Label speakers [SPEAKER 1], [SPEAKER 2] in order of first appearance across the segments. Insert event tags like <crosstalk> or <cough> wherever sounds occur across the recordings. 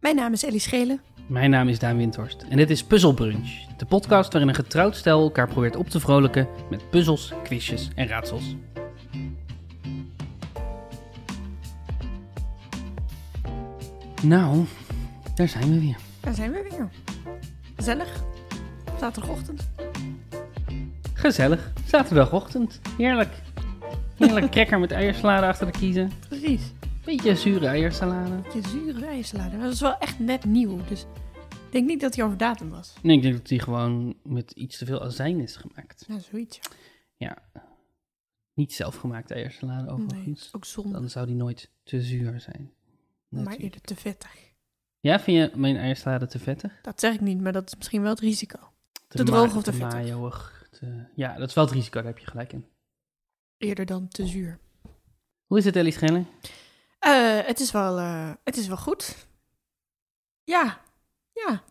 [SPEAKER 1] Mijn naam is Ellie Schelen.
[SPEAKER 2] Mijn naam is Daan Windhorst en dit is Puzzle Brunch, de podcast waarin een getrouwd stel elkaar probeert op te vrolijken met puzzels, quizjes en raadsels. Nou, daar zijn we weer.
[SPEAKER 1] Daar zijn we weer. Gezellig. Zaterdagochtend.
[SPEAKER 2] Gezellig, zaterdagochtend. Heerlijk. Heerlijk cracker met eiersalade achter de kiezen.
[SPEAKER 1] Precies.
[SPEAKER 2] Beetje zure eiersalade.
[SPEAKER 1] Je zure ijssalade. Dat was wel echt net nieuw, dus ik denk niet dat die over datum was.
[SPEAKER 2] Nee, ik denk dat die gewoon met iets te veel azijn is gemaakt.
[SPEAKER 1] Nou, zoiets. ja.
[SPEAKER 2] Ja, niet zelfgemaakte eiersalade
[SPEAKER 1] Nee, het
[SPEAKER 2] overigens.
[SPEAKER 1] is ook zonde,
[SPEAKER 2] Oh, dan zou die nooit te zuur zijn.
[SPEAKER 1] maar
[SPEAKER 2] Natuurlijk.
[SPEAKER 1] eerder te vettig.
[SPEAKER 2] Ja, vind je mijn eiersalade te vettig?
[SPEAKER 1] Dat zeg ik niet, maar dat is misschien wel het risico. Te
[SPEAKER 2] ma-
[SPEAKER 1] droog of te vettig?
[SPEAKER 2] majoig, te- Ja, dat is wel het risico, daar heb je gelijk in.
[SPEAKER 1] Eerder dan te zuur.
[SPEAKER 2] Hoe is het, Ellie Schellen?
[SPEAKER 1] Eh, het, is wel, eh, het is wel goed. Ja. Ja.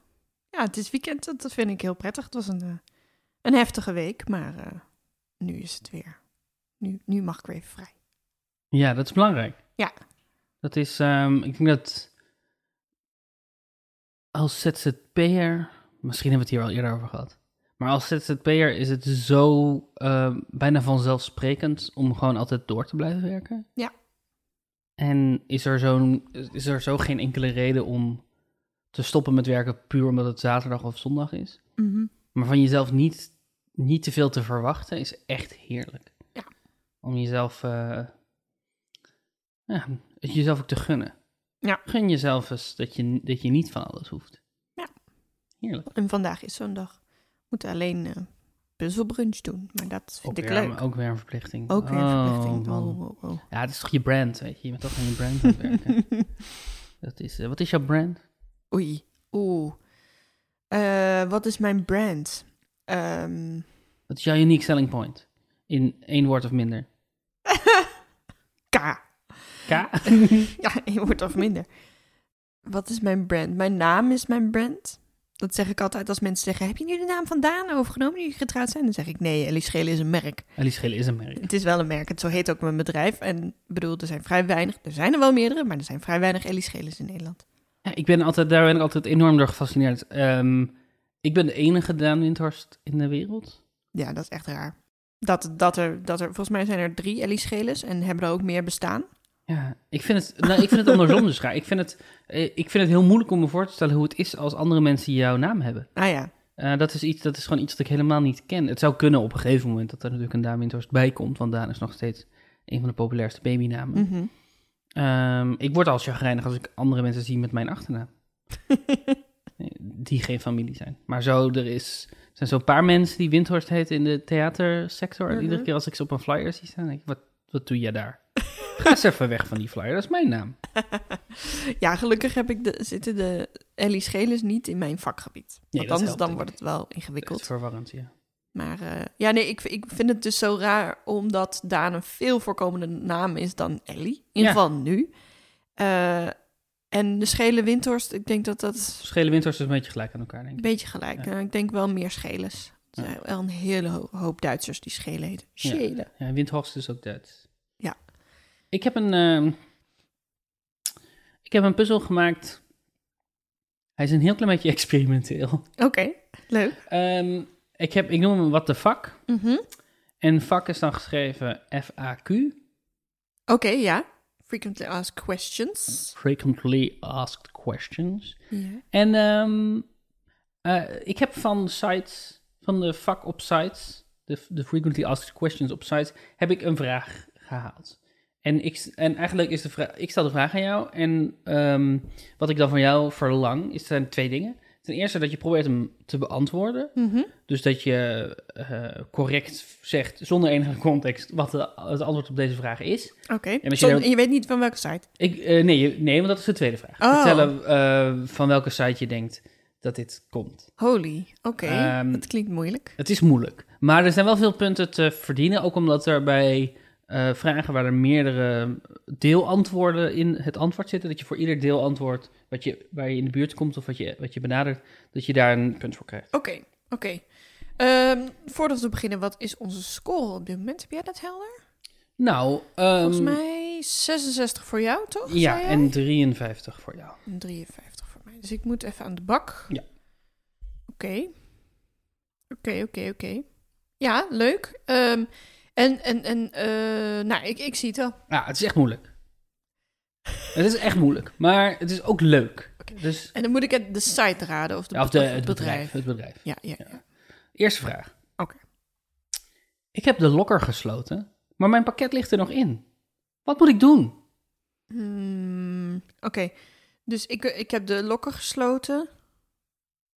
[SPEAKER 1] Ja, het is weekend. Dat dat vind ik heel prettig. Het was een, eh, een heftige week, maar eh, nu is het weer. Nu, nu mag ik weer even vrij.
[SPEAKER 2] Ja, dat is belangrijk.
[SPEAKER 1] Ja.
[SPEAKER 2] Dat is, ehm, ik denk dat als ZZP'er, misschien hebben we het hier al eerder over gehad, maar als ZZP'er is het zo ehm, bijna vanzelfsprekend om gewoon altijd door te blijven werken.
[SPEAKER 1] Ja.
[SPEAKER 2] En is er, zo'n, is er zo geen enkele reden om te stoppen met werken puur omdat het zaterdag of zondag is. Maar van jezelf niet, niet te veel te verwachten is echt heerlijk.
[SPEAKER 1] Ja.
[SPEAKER 2] Om jezelf, eh, ja, het jezelf ook te gunnen.
[SPEAKER 1] Ja.
[SPEAKER 2] Gun jezelf eens dat je, dat je niet van alles hoeft.
[SPEAKER 1] Ja.
[SPEAKER 2] Heerlijk.
[SPEAKER 1] En vandaag is zo'n dag. We moeten alleen eh puzzelbrunch doen, maar dat vind
[SPEAKER 2] Ook
[SPEAKER 1] ik
[SPEAKER 2] weer-
[SPEAKER 1] leuk.
[SPEAKER 2] Ook weer een verplichting.
[SPEAKER 1] Ook weer een
[SPEAKER 2] Oh,
[SPEAKER 1] verplichting.
[SPEAKER 2] man.
[SPEAKER 1] Oh, oh, oh.
[SPEAKER 2] Ja, het is toch je brand, weet je. Je bent toch aan je brand aan het
[SPEAKER 1] <laughs>
[SPEAKER 2] werken. dat is, eh, wat is jouw brand?
[SPEAKER 1] Oei. Oeh. Eh, wat is mijn brand? Ehm, <laughs>
[SPEAKER 2] Wat is jouw unique selling point? In één woord of minder.
[SPEAKER 1] K. <laughs>
[SPEAKER 2] K?
[SPEAKER 1] Ja, één woord of minder. Wat is mijn brand? Mijn naam is mijn brand. Dat zeg ik altijd als mensen zeggen: Heb je nu de naam van Daan overgenomen nu jullie getrouwd zijn? Dan zeg ik: Nee, Ellie Schelen is een merk.
[SPEAKER 2] Ellie Schelen is een merk.
[SPEAKER 1] Het is wel een merk. Het zo heet ook mijn bedrijf. En ik bedoel, er zijn vrij weinig. Er zijn er wel meerdere, maar er zijn vrij weinig Ellie Schelens in Nederland.
[SPEAKER 2] Ja, ik ben altijd, daar ben ik altijd enorm door gefascineerd. Ehm, ik ben de enige Daan Windhorst in de wereld.
[SPEAKER 1] Ja, dat is echt raar. Dat, dat, er, dat er, volgens mij zijn er drie Ellie Schelens en hebben er ook meer bestaan.
[SPEAKER 2] Ja, ik vind het, nou, ik vind het andersom <laughs> dus raar. Ik vind het, eh, ik vind het heel moeilijk om me voor te stellen hoe het is als andere mensen jouw naam hebben.
[SPEAKER 1] Ah ja,
[SPEAKER 2] Eh, dat, is iets, dat is gewoon iets dat ik helemaal niet ken. Het zou kunnen op een gegeven moment dat er natuurlijk een Daan Windhorst bij komt. Want Daan is nog steeds een van de populairste babynamen.
[SPEAKER 1] mhm. <laughs>
[SPEAKER 2] Ehm, ik word al chagrijnig als ik andere mensen zie met mijn
[SPEAKER 1] <laughs>
[SPEAKER 2] achternaam. die geen familie zijn. Maar zo, er is, er zijn zo'n paar mensen die Windhorst heten in de theatersector. En
[SPEAKER 1] Mhm.
[SPEAKER 2] iedere keer als ik ze op een flyer zie staan, denk ik, wat, wat doe jij daar? Ga eens even weg van die flyer, dat is mijn naam.
[SPEAKER 1] ja, gelukkig heb ik de, zitten de Ellie Schelens niet in mijn vakgebied.
[SPEAKER 2] Nee,
[SPEAKER 1] Want
[SPEAKER 2] dat
[SPEAKER 1] anders
[SPEAKER 2] helpt,
[SPEAKER 1] dan
[SPEAKER 2] denk
[SPEAKER 1] wordt
[SPEAKER 2] ik.
[SPEAKER 1] het wel
[SPEAKER 2] Dat
[SPEAKER 1] ingewikkeld.
[SPEAKER 2] is verwarrend, ja.
[SPEAKER 1] Maar eh, ja, nee, ik, ik vind het dus zo raar omdat Daan een veel voorkomende naam is dan Ellie. In
[SPEAKER 2] Ja.
[SPEAKER 1] ieder geval nu. Eh, en de schele Windhorst, ik denk dat dat is
[SPEAKER 2] Schelen Windhorst is een beetje gelijk aan elkaar, denk
[SPEAKER 1] een
[SPEAKER 2] ik.
[SPEAKER 1] beetje gelijk.
[SPEAKER 2] Ja.
[SPEAKER 1] Nou, ik denk wel meer scheles. Er zijn wel een hele ho- hoop Duitsers die schelen heten.
[SPEAKER 2] Ja.
[SPEAKER 1] Schelen.
[SPEAKER 2] Ja, Windhorst is ook Duits.
[SPEAKER 1] Ja.
[SPEAKER 2] Ik heb een, ehm, ik heb een puzzel gemaakt. Hij is een heel klein beetje <laughs> experimenteel.
[SPEAKER 1] Oké, leuk.
[SPEAKER 2] Ehm, ik, heb, ik noem hem What the Fuck.
[SPEAKER 1] Mhm.
[SPEAKER 2] En fuck is dan geschreven FAQ.
[SPEAKER 1] Oké, ja. Frequently asked questions.
[SPEAKER 2] Frequently Asked Questions.
[SPEAKER 1] Ja.
[SPEAKER 2] En ehm, eh, ik heb van sites, van de vak op sites, de, de Frequently Asked Questions op sites, heb ik een vraag gehaald. En, ik, en eigenlijk is de vraag, ik stel de vraag aan jou en ehm, wat ik dan van jou verlang, is, zijn twee dingen. Ten eerste dat je probeert hem te beantwoorden.
[SPEAKER 1] Mhm.
[SPEAKER 2] Dus dat je eh, correct zegt, zonder enige context, wat de, het antwoord op deze vraag is.
[SPEAKER 1] Oké.
[SPEAKER 2] maar als je
[SPEAKER 1] Zonder-
[SPEAKER 2] dan-
[SPEAKER 1] en je weet niet van welke site.
[SPEAKER 2] Ik, eh, nee, je- nee, want dat is de tweede vraag.
[SPEAKER 1] Oh.
[SPEAKER 2] Vertellen eh, van welke site je denkt dat dit komt.
[SPEAKER 1] Holy. Oké,
[SPEAKER 2] Ehm,
[SPEAKER 1] dat klinkt moeilijk.
[SPEAKER 2] Het is moeilijk. Maar er zijn wel veel punten te verdienen. Ook omdat er bij eh, vragen waar er meerdere deelantwoorden in het antwoord zitten... dat je voor ieder deelantwoord wat je, waar je in de buurt komt of wat je, wat je benadert... dat je daar een punt voor krijgt.
[SPEAKER 1] Oké, oké. Ehm, voordat we beginnen, wat is onze score op dit moment? Heb jij dat helder?
[SPEAKER 2] Nou, ehm,
[SPEAKER 1] Volgens mij 66 voor jou, toch?
[SPEAKER 2] ja,
[SPEAKER 1] zei jij?
[SPEAKER 2] en 53 voor jou.
[SPEAKER 1] En 53 voor mij. Dus ik moet even aan de bak.
[SPEAKER 2] Ja.
[SPEAKER 1] Oké. Oké, oké, oké. Ja, leuk. Ehm, en, en, en eh, nou, ik, ik zie het wel.
[SPEAKER 2] Ja, het is echt moeilijk. het is echt moeilijk, maar het is ook leuk. Dus,
[SPEAKER 1] En dan moet ik het- de site raden of, de,
[SPEAKER 2] ja, of de,
[SPEAKER 1] of
[SPEAKER 2] het bedrijf. Het bedrijf.
[SPEAKER 1] Ja, ja, ja.
[SPEAKER 2] Eerste vraag.
[SPEAKER 1] Oké.
[SPEAKER 2] Ik heb de lokker gesloten, maar mijn pakket ligt er nog in. Wat moet ik doen?
[SPEAKER 1] Hmm, oké. Dus ik, ik heb de lokker gesloten.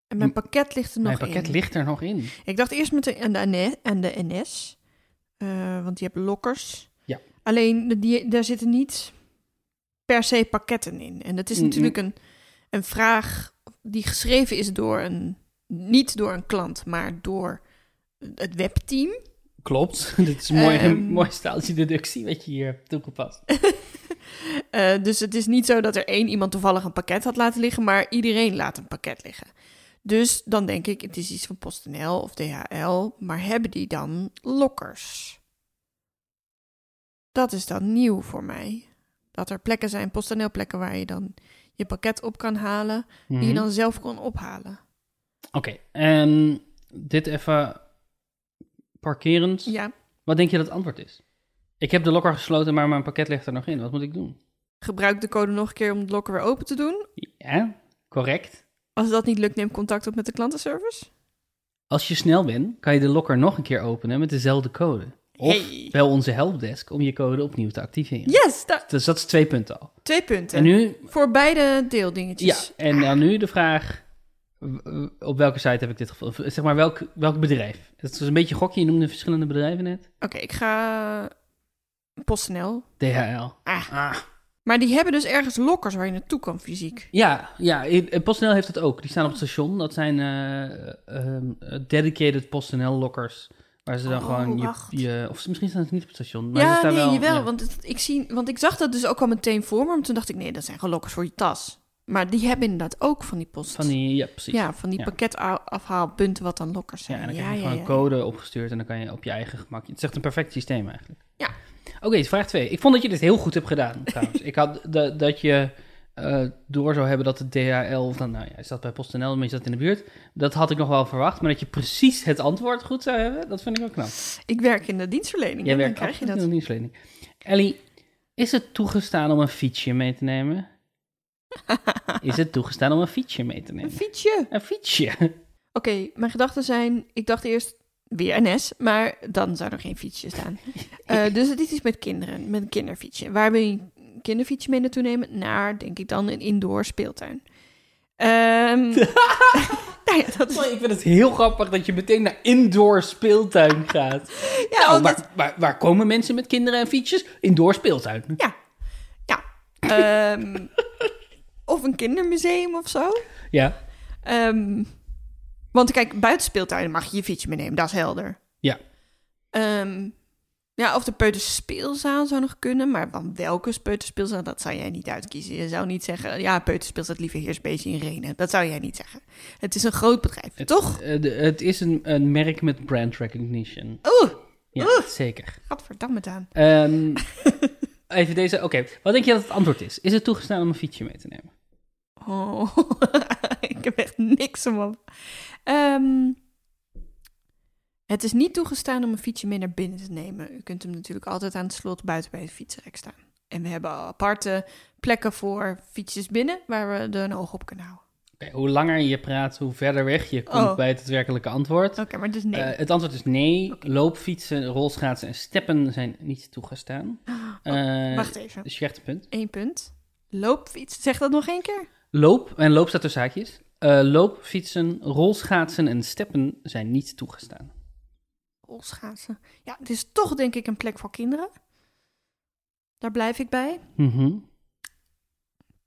[SPEAKER 1] En mijn pakket ligt er nog
[SPEAKER 2] mijn pakket
[SPEAKER 1] in.
[SPEAKER 2] ligt er nog in.
[SPEAKER 1] Ik dacht eerst met de, aan, de NS, aan de NS. eh, want die hebben lokkers.
[SPEAKER 2] Ja.
[SPEAKER 1] Alleen, de- die, daar zitten niet per se pakketten in. En dat is
[SPEAKER 2] Mm,
[SPEAKER 1] natuurlijk een, een vraag die geschreven is door een... Niet door een klant, maar door het webteam.
[SPEAKER 2] <laughs> Klopt. Dit is een mooie,
[SPEAKER 1] Ehm.
[SPEAKER 2] mooie staaltje deductie wat je hier hebt toegepast.
[SPEAKER 1] Eh, dus het is niet zo dat er één iemand toevallig een pakket had laten liggen, maar iedereen laat een pakket liggen. Dus dan denk ik, het is iets van PostNL of DHL, maar hebben die dan lokkers? Dat is dan nieuw voor mij. Dat er plekken zijn, PostNL plekken waar je dan je pakket op kan halen, die je
[SPEAKER 2] Mhm.
[SPEAKER 1] dan zelf kon ophalen.
[SPEAKER 2] Oké, ehm, dit even parkerend.
[SPEAKER 1] Ja,
[SPEAKER 2] Wat denk je dat het antwoord is? Ik heb de lokker gesloten, maar mijn pakket ligt er nog in. Wat moet ik doen?
[SPEAKER 1] gebruik de code nog een keer om het lokker weer open te doen.
[SPEAKER 2] Ja, correct.
[SPEAKER 1] Als dat niet lukt, neem contact op met de klantenservice.
[SPEAKER 2] Als je snel bent, kan je de lokker nog een keer openen met dezelfde code. Of
[SPEAKER 1] Hey.
[SPEAKER 2] bel onze helpdesk om je code opnieuw te activeren.
[SPEAKER 1] Yes, daar-
[SPEAKER 2] Dus dat is twee punten al.
[SPEAKER 1] twee punten.
[SPEAKER 2] En nu,
[SPEAKER 1] Voor beide
[SPEAKER 2] ja,
[SPEAKER 1] deeldingetjes.
[SPEAKER 2] en dan nu de vraag, w- w- op welke site heb ik dit gevonden? Zeg maar, welk, welk bedrijf? Het is een beetje gokje, je noemde verschillende bedrijven net.
[SPEAKER 1] Oké, ik ga PostNL.
[SPEAKER 2] DHL.
[SPEAKER 1] Ah.
[SPEAKER 2] ah.
[SPEAKER 1] Maar die hebben dus ergens lokkers waar je naartoe kan fysiek.
[SPEAKER 2] Ja, ja, i- eh, PostNL heeft dat ook. Die staan op het station. Dat zijn eh, ehm, eh, dedicated PostNL-lokkers. Waar ze dan
[SPEAKER 1] Oh,
[SPEAKER 2] gewoon je,
[SPEAKER 1] wacht.
[SPEAKER 2] je... Of misschien staan ze niet op het station. Maar ze
[SPEAKER 1] ja,
[SPEAKER 2] staan
[SPEAKER 1] nee,
[SPEAKER 2] wel,
[SPEAKER 1] jawel.
[SPEAKER 2] ja.
[SPEAKER 1] Want, het- ik zie, want ik zag dat dus ook al meteen voor me. Maar toen dacht ik, nee, dat zijn gewoon lokkers voor je tas. Maar die hebben inderdaad ook van die post.
[SPEAKER 2] Van die, ja, precies. Ja,
[SPEAKER 1] ja, van die
[SPEAKER 2] ja.
[SPEAKER 1] pakketafhaalpunten wat dan lokkers zijn.
[SPEAKER 2] en dan
[SPEAKER 1] ja,
[SPEAKER 2] krijg je
[SPEAKER 1] ja,
[SPEAKER 2] gewoon
[SPEAKER 1] ja.
[SPEAKER 2] code opgestuurd en dan kan je op je eigen gemak... Het is echt een perfect systeem eigenlijk.
[SPEAKER 1] Ja.
[SPEAKER 2] Oké, dus vraag 2. Ik vond dat je dit heel goed hebt gedaan, <laughs> trouwens. Ik had da- dat je eh, door zou hebben dat de DHL... Of dan, nou ja, je zat bij PostNL, maar je zat in de buurt. Dat had ik nog wel verwacht. Maar dat je precies het antwoord goed zou hebben, dat vind ik wel knap.
[SPEAKER 1] Ik werk in de dienstverlening.
[SPEAKER 2] Jij
[SPEAKER 1] hè,
[SPEAKER 2] werkt
[SPEAKER 1] dan krijg je
[SPEAKER 2] absoluut
[SPEAKER 1] dat.
[SPEAKER 2] in de dienstverlening. Ellie, is het toegestaan om een fietsje mee te
[SPEAKER 1] <laughs>
[SPEAKER 2] nemen? Is het toegestaan om een fietsje mee te
[SPEAKER 1] Een
[SPEAKER 2] nemen?
[SPEAKER 1] fietsje.
[SPEAKER 2] Een fietsje.
[SPEAKER 1] Oké, mijn gedachten zijn... Ik dacht eerst weer NS, maar dan zou er geen fietsje staan. Eh, dus het is iets met kinderen, met een kinderfietsje. Waar wil je een kinderfietsje mee naartoe nemen? Naar, denk ik dan, een indoor speeltuin. Ehm, <laughs> nou ja, dat is...
[SPEAKER 2] ik vind het heel grappig dat je meteen naar indoor speeltuin gaat.
[SPEAKER 1] Ja,
[SPEAKER 2] Nou,
[SPEAKER 1] omdat-
[SPEAKER 2] waar, waar, waar komen mensen met kinderen en fietsjes? Indoor speeltuin.
[SPEAKER 1] ja, ja. Ehm, of een kindermuseum of zo.
[SPEAKER 2] Ja,
[SPEAKER 1] Ehm, want kijk, buiten speeltuinen mag je je fietsje meenemen, dat is helder.
[SPEAKER 2] ja.
[SPEAKER 1] Ehm, ja, of de peuterspeelzaal zou nog kunnen, maar van welke peuterspeelzaal, dat zou jij niet uitkiezen. Je zou niet zeggen, ja, peuterspeelzaal liever heersbeestje in Renen. Dat zou jij niet zeggen. Het is een groot bedrijf,
[SPEAKER 2] Het-
[SPEAKER 1] toch?
[SPEAKER 2] eh, de- het is een, een merk met brand recognition.
[SPEAKER 1] Oeh,
[SPEAKER 2] Ja,
[SPEAKER 1] Oeh.
[SPEAKER 2] zeker.
[SPEAKER 1] gadverdamme Daan.
[SPEAKER 2] Ehm, <laughs> even deze. Oké, wat denk je dat het antwoord is? Is het toegestaan om een fietsje mee te nemen?
[SPEAKER 1] Oh, <laughs> ik heb echt niks om op. Ehm, het is niet toegestaan om een fietsje mee naar binnen te nemen. U kunt hem natuurlijk altijd aan het slot buiten bij het fietsrek staan. En we hebben aparte plekken voor fietsjes binnen waar we er een oog op kunnen houden.
[SPEAKER 2] Oké, hoe langer je praat, hoe verder weg je komt
[SPEAKER 1] Oh.
[SPEAKER 2] bij het daadwerkelijke antwoord.
[SPEAKER 1] Oké, maar dus nee.
[SPEAKER 2] Eh, het antwoord is nee. Loopfietsen, rolschaatsen en steppen zijn niet toegestaan. Eh,
[SPEAKER 1] Oh, Wacht even.
[SPEAKER 2] Dus je krijgt een punt.
[SPEAKER 1] Eén punt. Loopfiets. Zeg dat nog één keer.
[SPEAKER 2] Loop, en loop staat tussen haakjes. Eh, loopfietsen, rolschaatsen en steppen zijn niet toegestaan.
[SPEAKER 1] Rolschaatsen. Ja, het is toch denk ik een plek voor kinderen. Daar blijf ik bij.
[SPEAKER 2] Mhm.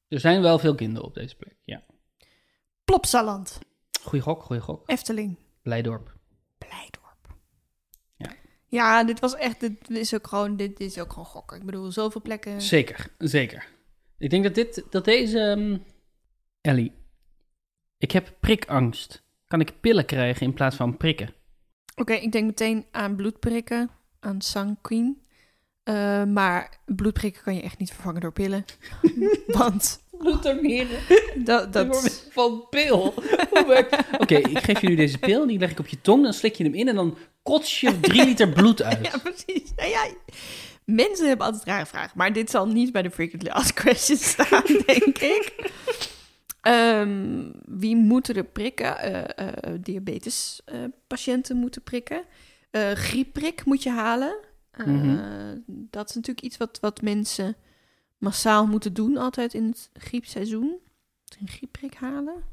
[SPEAKER 2] Er zijn wel veel kinderen op deze plek, ja.
[SPEAKER 1] Plopsaland.
[SPEAKER 2] Goeie gok, goeie gok.
[SPEAKER 1] Efteling.
[SPEAKER 2] Blijdorp.
[SPEAKER 1] Blijdorp.
[SPEAKER 2] Ja.
[SPEAKER 1] Ja, dit was echt, dit is ook gewoon, dit is ook gewoon gokken. Ik bedoel, zoveel plekken.
[SPEAKER 2] Zeker, zeker. Ik denk dat, dit, dat deze... ehm, Ellie, ik heb prikangst. Kan ik pillen krijgen in plaats van prikken?
[SPEAKER 1] Oké, ik denk meteen aan bloedprikken, aan sanguine. Eh, maar bloedprikken kan je echt niet vervangen door pillen. Want
[SPEAKER 2] Bloedtoneren.
[SPEAKER 1] dat, dat,
[SPEAKER 2] van pil. Hoe werkt- Oké, ik geef je nu deze pil, en die leg ik op je tong, dan slik je hem in en dan kots je drie liter bloed uit.
[SPEAKER 1] <laughs> Ja, precies. Nou ja, mensen hebben altijd rare vragen. Maar dit zal niet bij de frequently asked questions staan, denk ik. Ehm, wie moeten er prikken? Eh, eh, diabetes Diabetespatiënten moeten prikken. Eh griepprik moet je halen. Eh,
[SPEAKER 2] Mhm.
[SPEAKER 1] Dat is natuurlijk iets wat, wat mensen massaal moeten doen altijd in het griepseizoen. Een griepprik halen.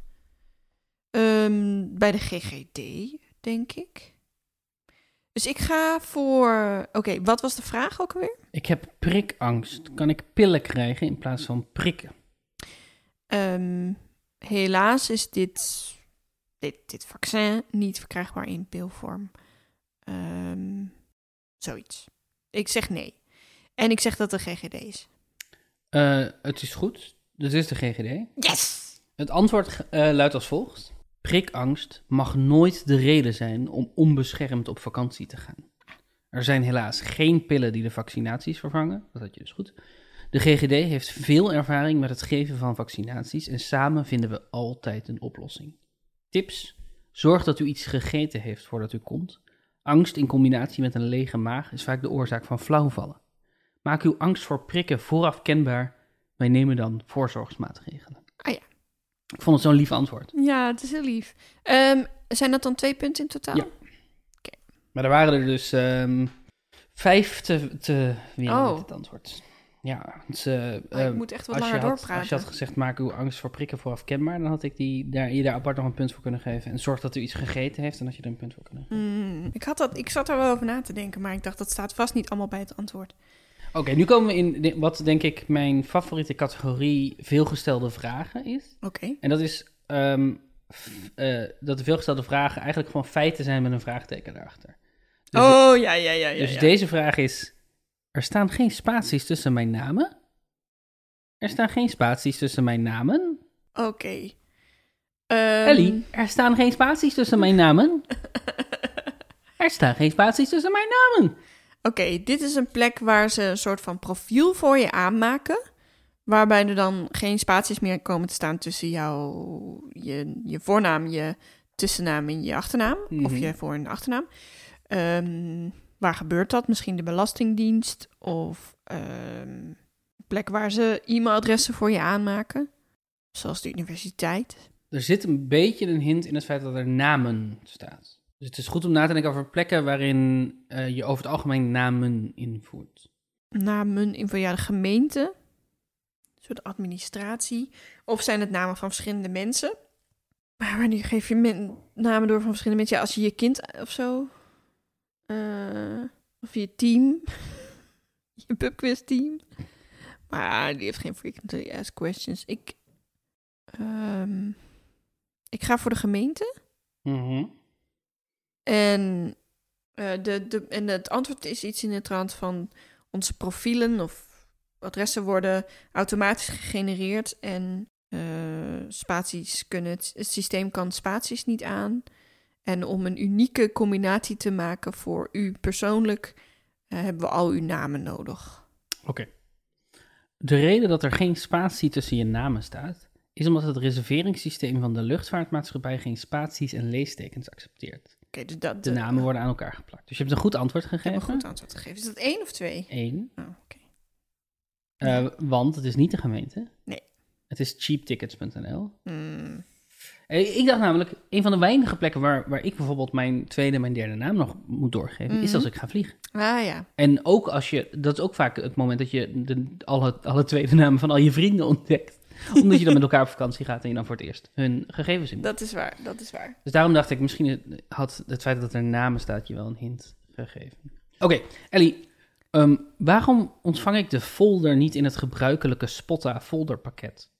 [SPEAKER 1] Ehm, bij de GGD, denk ik. Dus ik ga voor... Oké, wat was de vraag ook alweer?
[SPEAKER 2] Ik heb prikangst. Kan ik pillen krijgen in plaats van prikken?
[SPEAKER 1] Ehm, helaas is dit, dit, dit vaccin niet verkrijgbaar in pilvorm. Ehm, zoiets. Ik zeg nee. En ik zeg dat de GGD is.
[SPEAKER 2] Eh, het is goed. Dat is de GGD.
[SPEAKER 1] Yes!
[SPEAKER 2] Het antwoord eh, luidt als volgt. Prikangst mag nooit de reden zijn om onbeschermd op vakantie te gaan. Er zijn helaas geen pillen die de vaccinaties vervangen. Dat had je dus goed. De GGD heeft veel ervaring met het geven van vaccinaties en samen vinden we altijd een oplossing. Tips: zorg dat u iets gegeten heeft voordat u komt. Angst in combinatie met een lege maag is vaak de oorzaak van flauwvallen. Maak uw angst voor prikken vooraf kenbaar. Wij nemen dan voorzorgsmaatregelen.
[SPEAKER 1] Ah ja.
[SPEAKER 2] Ik vond het zo'n lief antwoord.
[SPEAKER 1] Ja, het is heel lief. Ehm, zijn dat dan twee punten in totaal? Oh,
[SPEAKER 2] Ja. Maar er waren er dus ehm, vijf te, te winnen
[SPEAKER 1] Oh.
[SPEAKER 2] met het antwoord. Ja, het, eh,
[SPEAKER 1] Ah, ik
[SPEAKER 2] eh,
[SPEAKER 1] moet echt wat
[SPEAKER 2] als, je
[SPEAKER 1] langer
[SPEAKER 2] had,
[SPEAKER 1] doorpraten.
[SPEAKER 2] als je had gezegd, maak uw angst voor prikken vooraf kenbaar, dan had ik die, daar, je daar apart nog een punt voor kunnen geven. En zorg dat u iets gegeten heeft, dan had je er een punt voor kunnen geven.
[SPEAKER 1] Hmm, ik, had dat, ik zat er wel over na te denken, maar ik dacht dat staat vast niet allemaal bij het antwoord.
[SPEAKER 2] Oké, nu komen we in de- wat denk ik mijn favoriete categorie veelgestelde vragen is.
[SPEAKER 1] Oké.
[SPEAKER 2] En dat is ehm, f- eh, dat de veelgestelde vragen eigenlijk gewoon feiten zijn met een vraagteken erachter. Dus,
[SPEAKER 1] oh, ja, ja, ja, ja.
[SPEAKER 2] dus
[SPEAKER 1] ja.
[SPEAKER 2] deze vraag is: Er staan geen spaties tussen mijn namen? Er staan geen spaties tussen mijn namen?
[SPEAKER 1] Oké. Ehm, <laughs>
[SPEAKER 2] Ellie, er staan geen spaties tussen mijn namen? Er staan geen spaties tussen mijn namen.
[SPEAKER 1] Oké, dit is een plek waar ze een soort van profiel voor je aanmaken. Waarbij er dan geen spaties meer komen te staan tussen jou, je, je voornaam, je tussennaam en je achternaam. Of
[SPEAKER 2] Mhm.
[SPEAKER 1] je voor- en achternaam. Ehm, waar gebeurt dat? Misschien de Belastingdienst of ehm, een plek waar ze e-mailadressen voor je aanmaken. Zoals de universiteit.
[SPEAKER 2] Er zit een beetje een hint in het feit dat er namen staat. Dus het is goed om na te denken over plekken waarin eh, je over het algemeen namen invoert.
[SPEAKER 1] namen in van ja, de gemeente, een soort administratie, of zijn het namen van verschillende mensen? Maar wanneer geef je men- namen door van verschillende mensen? Ja, als je je kind of zo, eh, of je team, <laughs> je pubquiz team. Maar ja, die heeft geen frequently asked questions. Ik, ehm, ik ga voor de gemeente
[SPEAKER 2] Mhm.
[SPEAKER 1] en, eh, de, de, en het antwoord is iets in de trant van onze profielen of adressen worden automatisch gegenereerd en eh, spaties kunnen het, het systeem kan spaties niet aan. En om een unieke combinatie te maken voor u persoonlijk eh, hebben we al uw namen nodig.
[SPEAKER 2] Oké. De reden dat er geen spatie tussen je namen staat, is omdat het reserveringssysteem van de luchtvaartmaatschappij geen spaties en leestekens accepteert.
[SPEAKER 1] Oké, dus dat
[SPEAKER 2] De namen worden aan elkaar geplakt. Dus je hebt een goed antwoord
[SPEAKER 1] Ik heb
[SPEAKER 2] gegeven.
[SPEAKER 1] een goed antwoord gegeven. Is dat één of twee?
[SPEAKER 2] Eén.
[SPEAKER 1] Oh, oké.
[SPEAKER 2] Eh, want het is niet de gemeente.
[SPEAKER 1] Nee.
[SPEAKER 2] Het is cheaptickets.nl.
[SPEAKER 1] Hmm.
[SPEAKER 2] Eh, Ik dacht namelijk, een van de weinige plekken waar, waar ik bijvoorbeeld mijn tweede en mijn derde naam nog moet doorgeven, is
[SPEAKER 1] Mhm.
[SPEAKER 2] als ik ga vliegen.
[SPEAKER 1] Ah ja.
[SPEAKER 2] En ook als je, dat is ook vaak het moment dat je de, alle, alle tweede namen van al je vrienden
[SPEAKER 1] <laughs>
[SPEAKER 2] ontdekt. Omdat je dan met elkaar op vakantie gaat en je dan voor het eerst hun gegevens in.
[SPEAKER 1] Dat is waar, dat is waar.
[SPEAKER 2] Dus daarom dacht ik, misschien had het feit dat er namen staat je wel een hint gegeven. Oké, Ellie, ehm, waarom ontvang ik de folder niet in het gebruikelijke Spotta folderpakket?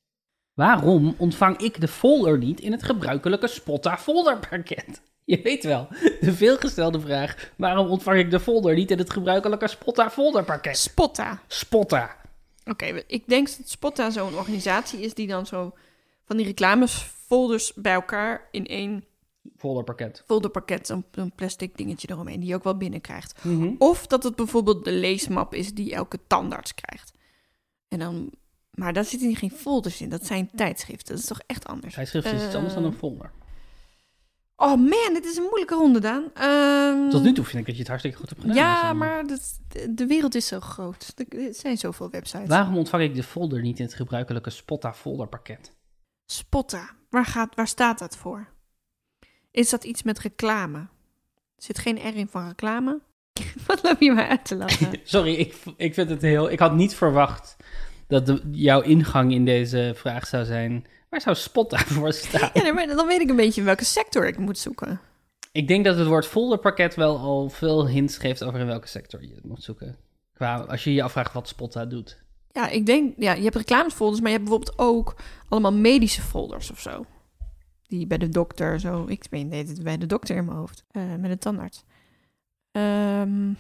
[SPEAKER 2] Waarom ontvang ik de folder niet in het gebruikelijke Spotta folderpakket? <laughs> Je weet wel, de veelgestelde vraag, waarom ontvang ik de folder niet in het gebruikelijke Spotta folderpakket?
[SPEAKER 1] Spotta.
[SPEAKER 2] Spotta.
[SPEAKER 1] Oké, we- ik denk dat Spotta zo'n organisatie is die dan zo van die reclamesfolders bij elkaar in één
[SPEAKER 2] folderpakket.
[SPEAKER 1] folderpakket, zo'n zo'n plastic dingetje eromheen, die je ook wel binnenkrijgt.
[SPEAKER 2] Mhm.
[SPEAKER 1] Of dat het bijvoorbeeld de leesmap is die elke tandarts krijgt. En dan Maar daar zitten geen folders in. Dat zijn tijdschriften. Dat is toch echt anders.
[SPEAKER 2] Tijdschrift is iets
[SPEAKER 1] Eh,
[SPEAKER 2] anders dan een folder.
[SPEAKER 1] Oh man, dit is een moeilijke ronde, Daan. Ehm,
[SPEAKER 2] Tot nu toe vind ik dat je het hartstikke goed hebt gedaan. Dus,
[SPEAKER 1] Ja,
[SPEAKER 2] ehm,
[SPEAKER 1] maar dat, de, de wereld is zo groot. Er er zijn zoveel websites.
[SPEAKER 2] Waarom ontvang ik de folder niet in het gebruikelijke Spotta folderpakket?
[SPEAKER 1] Spotta. Waar, gaat, waar staat dat voor? Is dat iets met reclame? Er zit geen R in van reclame. <laughs> Wat loop je mij uit te
[SPEAKER 2] <laughs>
[SPEAKER 1] lachen?
[SPEAKER 2] Sorry, ik, ik vind het heel. Ik had niet verwacht dat de- jouw ingang in deze vraag zou zijn. Waar zou Spotta <laughs> voor staan?
[SPEAKER 1] ja, nee, maar dan weet ik een beetje in welke sector ik moet zoeken.
[SPEAKER 2] Ik denk dat het woord folderpakket wel al veel hints geeft over in welke sector je het moet zoeken. Qua, als je je afvraagt wat Spotta doet.
[SPEAKER 1] Ja, ik denk, ja, je hebt reclamefolders, maar je hebt bijvoorbeeld ook allemaal medische folders of zo. Die bij de dokter, zo, ik weet niet, het bij de dokter in mijn hoofd, eh, met een tandarts. Ehm,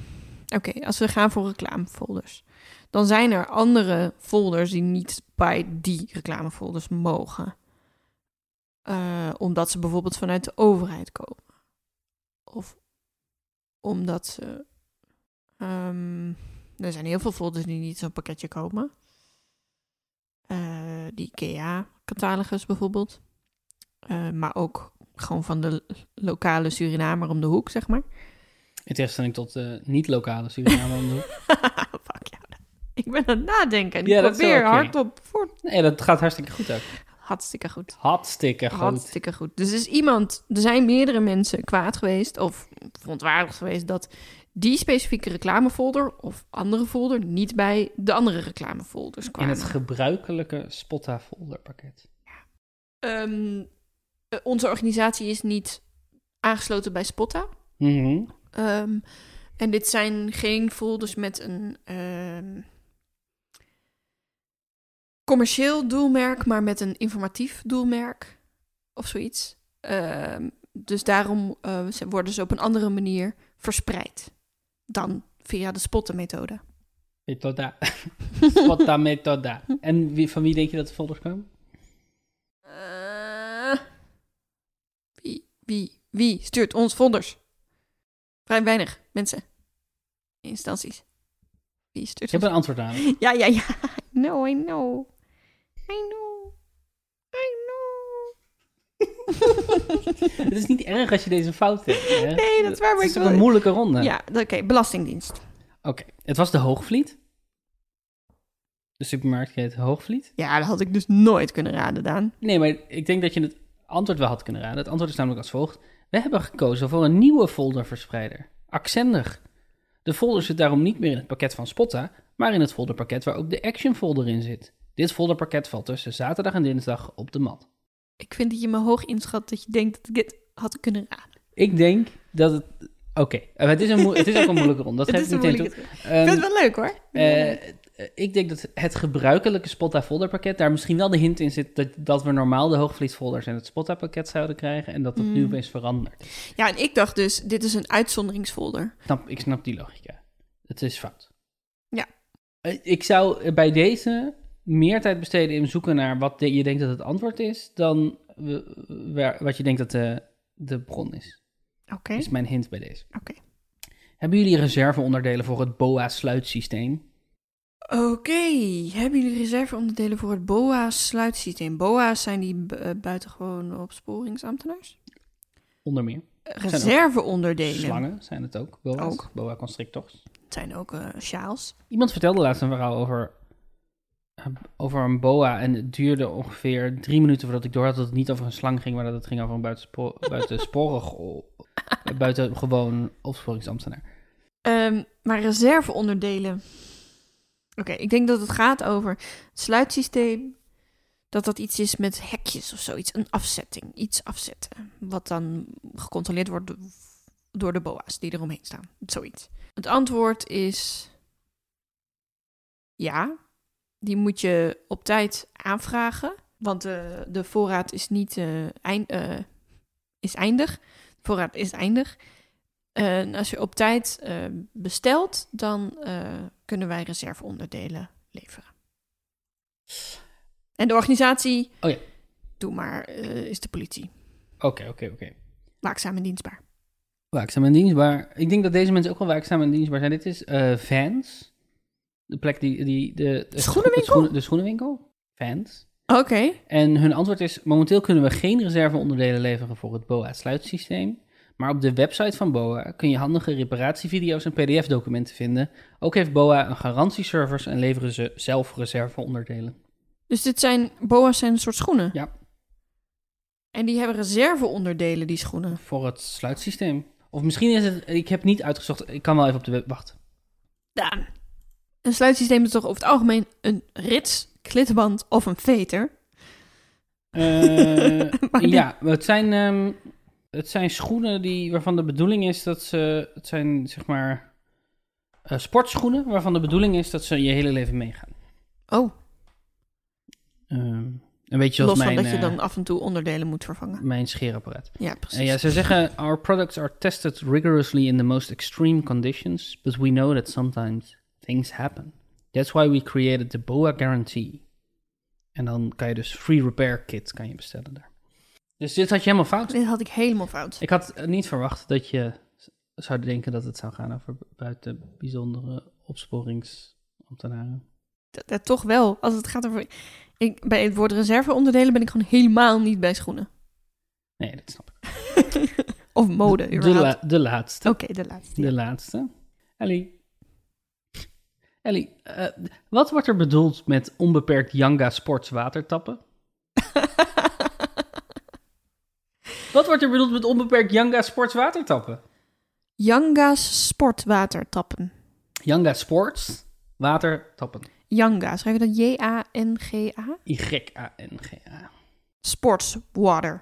[SPEAKER 1] Oké, als we gaan voor reclamefolders, dan zijn er andere folders die niet bij die reclamefolders mogen. Eh, omdat ze bijvoorbeeld vanuit de overheid komen. Of omdat ze. ehm, er zijn heel veel folders die niet zo'n pakketje komen. Eh, die IKEA-catalogus bijvoorbeeld. Eh, maar ook gewoon van de lo- lokale Surinamer om de hoek, zeg maar.
[SPEAKER 2] In tegenstelling tot eh, niet-lokale Suriname. om de hoek.
[SPEAKER 1] <laughs> Fuck jou. Ik ben aan het nadenken. en Ik
[SPEAKER 2] Ja, dat is wel
[SPEAKER 1] probeer
[SPEAKER 2] oké.
[SPEAKER 1] hardop voort.
[SPEAKER 2] <laughs> Nee, dat gaat hartstikke goed ook.
[SPEAKER 1] Hartstikke goed.
[SPEAKER 2] Hartstikke goed.
[SPEAKER 1] Hartstikke goed. Dus er is iemand, er zijn meerdere mensen kwaad geweest of verontwaardigd geweest dat die specifieke reclamefolder of andere folder niet bij de andere reclamefolders
[SPEAKER 2] In
[SPEAKER 1] kwamen.
[SPEAKER 2] het gebruikelijke Spotta folderpakket.
[SPEAKER 1] Ehm, eh, onze organisatie is niet aangesloten bij Spotta.
[SPEAKER 2] Mhm.
[SPEAKER 1] Ehm, en dit zijn geen folders met een ehm, commercieel doelmerk, maar met een informatief doelmerk of zoiets. Ehm, dus daarom eh, ze- worden ze op een andere manier verspreid dan via de spotten-methode.
[SPEAKER 2] Methoda. Spotta methoda. En wie, van wie denk je dat de folders kwamen?
[SPEAKER 1] Eh, wie, wie, wie stuurt ons folders? Vrij weinig mensen. Instanties. Wie
[SPEAKER 2] Ik
[SPEAKER 1] stuurt
[SPEAKER 2] heb
[SPEAKER 1] ons
[SPEAKER 2] een antwoord
[SPEAKER 1] <laughs>
[SPEAKER 2] aan.
[SPEAKER 1] Ja, ja, ja. I know, I know. I know. I know.
[SPEAKER 2] <laughs> Het is niet erg als je deze fout hebt. Hè?
[SPEAKER 1] Nee, dat is waar, maar
[SPEAKER 2] Het
[SPEAKER 1] ik
[SPEAKER 2] is toch
[SPEAKER 1] wil-
[SPEAKER 2] een moeilijke ronde.
[SPEAKER 1] Ja, oké, Belastingdienst.
[SPEAKER 2] Oké, het was de Hoogvliet. De supermarkt heet Hoogvliet.
[SPEAKER 1] Ja, dat had ik dus nooit kunnen raden, Daan.
[SPEAKER 2] Nee, maar ik denk dat je het antwoord wel had kunnen raden. Het antwoord is namelijk als volgt. We hebben gekozen voor een nieuwe folderverspreider. Accendig. De folder zit daarom niet meer in het pakket van Spotta, maar in het folderpakket waar ook de Action folder in zit. Dit folderpakket valt tussen zaterdag en dinsdag op de mat.
[SPEAKER 1] Ik vind dat je me hoog inschat dat je denkt dat ik dit had kunnen raden.
[SPEAKER 2] Ik denk dat het... Oké, eh, het, is een moe- het is ook een moeilijke ronde. Dat
[SPEAKER 1] <laughs> Het
[SPEAKER 2] geef
[SPEAKER 1] is
[SPEAKER 2] ik
[SPEAKER 1] een
[SPEAKER 2] meteen toe.
[SPEAKER 1] moeilijke truc.
[SPEAKER 2] Ehm,
[SPEAKER 1] Ik vind het wel leuk, hoor.
[SPEAKER 2] Eh, eh, ik denk dat het gebruikelijke Spotta folderpakket daar misschien wel de hint in zit dat, dat we normaal de hoogvliet folders en het Spotta pakket zouden krijgen en dat dat
[SPEAKER 1] Hmm.
[SPEAKER 2] nu opeens verandert.
[SPEAKER 1] Ja, en ik dacht dus, dit is een uitzonderingsfolder.
[SPEAKER 2] Ik snap, ik snap die logica. Het is fout.
[SPEAKER 1] Ja.
[SPEAKER 2] Eh, Ik zou eh, bij deze meer tijd besteden in zoeken naar wat de- je denkt dat het antwoord is dan we- waar- wat je denkt dat de, de bron is.
[SPEAKER 1] Oké,
[SPEAKER 2] Is mijn hint bij deze.
[SPEAKER 1] oké.
[SPEAKER 2] Hebben jullie reserveonderdelen voor het BOA-sluitsysteem?
[SPEAKER 1] Oké, hebben jullie reserveonderdelen voor het BOA-sluitsysteem? BOA's zijn die bu- eh, buitengewoon opsporingsambtenaars?
[SPEAKER 2] Onder meer.
[SPEAKER 1] Reserveonderdelen.
[SPEAKER 2] Slangen zijn het ook. BOA's,
[SPEAKER 1] Ook.
[SPEAKER 2] BOA-constrictors.
[SPEAKER 1] Het zijn ook eh sjaals.
[SPEAKER 2] Iemand vertelde laatst een verhaal over, eh, over een boa en het duurde ongeveer drie minuten voordat ik doorhad dat het niet over een slang ging, maar dat het ging over een
[SPEAKER 1] <laughs>
[SPEAKER 2] buitenspo- buitensporig, o- buitengewoon opsporingsambtenaar.
[SPEAKER 1] Ehm, maar reserveonderdelen. Oké, ik denk dat het gaat over het sluitsysteem. Dat dat iets is met hekjes of zoiets. Een afzetting. Iets afzetten. Wat dan gecontroleerd wordt do- door de boa's die eromheen staan. Zoiets. Het antwoord is. Ja. Die moet je op tijd aanvragen. Want de, de voorraad is niet. eh, eind, eh, is eindig. De voorraad is eindig. En als je op tijd eh, bestelt, dan eh, kunnen wij reserveonderdelen leveren. En de organisatie,
[SPEAKER 2] Oh ja.
[SPEAKER 1] doe maar, eh, is de politie.
[SPEAKER 2] Oké, oké, oké.
[SPEAKER 1] Waakzaam en dienstbaar.
[SPEAKER 2] Waakzaam en dienstbaar. Ik denk dat deze mensen ook wel waakzaam en dienstbaar zijn. Dit is eh Vans. De plek die... die de, de
[SPEAKER 1] Schoenenwinkel?
[SPEAKER 2] De, schoenen- de schoenenwinkel. Fans.
[SPEAKER 1] Oké.
[SPEAKER 2] En hun antwoord is: momenteel kunnen we geen reserveonderdelen leveren voor het BOA-sluitsysteem. Maar op de website van BOA kun je handige reparatievideo's en PDF-documenten vinden. Ook heeft BOA een garantieservice en leveren ze zelf reserveonderdelen.
[SPEAKER 1] Dus dit zijn, boa's zijn een soort schoenen?
[SPEAKER 2] Ja.
[SPEAKER 1] En die hebben reserveonderdelen, die schoenen.
[SPEAKER 2] Voor het sluitsysteem. Of misschien is het, ik heb niet uitgezocht, ik kan wel even op de web wachten.
[SPEAKER 1] Ja. Een sluitsysteem is toch over het algemeen een rits, klitband of een veter?
[SPEAKER 2] Eh,
[SPEAKER 1] <laughs> Maar die-
[SPEAKER 2] ja, het zijn, ehm, het zijn schoenen die, waarvan de bedoeling is dat ze. Het zijn zeg maar eh, sportschoenen waarvan de bedoeling is dat ze je hele leven meegaan.
[SPEAKER 1] Oh,
[SPEAKER 2] Ehm, een beetje zoals
[SPEAKER 1] los van
[SPEAKER 2] mijn,
[SPEAKER 1] dat je
[SPEAKER 2] eh,
[SPEAKER 1] dan af en toe onderdelen moet vervangen.
[SPEAKER 2] mijn scheerapparaat.
[SPEAKER 1] Ja,
[SPEAKER 2] En
[SPEAKER 1] precies.
[SPEAKER 2] Eh, ja, ze zeggen, our products are tested rigorously in the most extreme conditions, but we know that sometimes things happen. That's why we created the BOA guarantee. En dan kan je dus free repair kit kan je bestellen daar. Dus dit had je helemaal fout.
[SPEAKER 1] Dit had ik helemaal fout.
[SPEAKER 2] Ik had eh, niet verwacht dat je z- zou denken dat het zou gaan over bu- buiten bijzondere opsporingsambtenaren.
[SPEAKER 1] Dat, dat toch wel. Als het gaat over... Ik, bij het woord reserveonderdelen ben ik gewoon helemaal niet bij
[SPEAKER 2] <laughs>
[SPEAKER 1] schoenen.
[SPEAKER 2] Nee, dat snap ik.
[SPEAKER 1] of mode,
[SPEAKER 2] de,
[SPEAKER 1] überhaupt.
[SPEAKER 2] la- de laatste.
[SPEAKER 1] Oké, de laatste.
[SPEAKER 2] De laatste. Ellie. Ellie, eh, wat wordt er bedoeld met onbeperkt Yanga Sports watertappen? Wat wordt er bedoeld met onbeperkt Yanga Sports
[SPEAKER 1] <laughs>
[SPEAKER 2] watertappen?
[SPEAKER 1] Yanga's sportwatertappen.
[SPEAKER 2] Yanga Sports watertappen.
[SPEAKER 1] Yanga, schrijf je dat J-A-N-G-A?
[SPEAKER 2] Y-A-N-G-A.
[SPEAKER 1] Sportswater.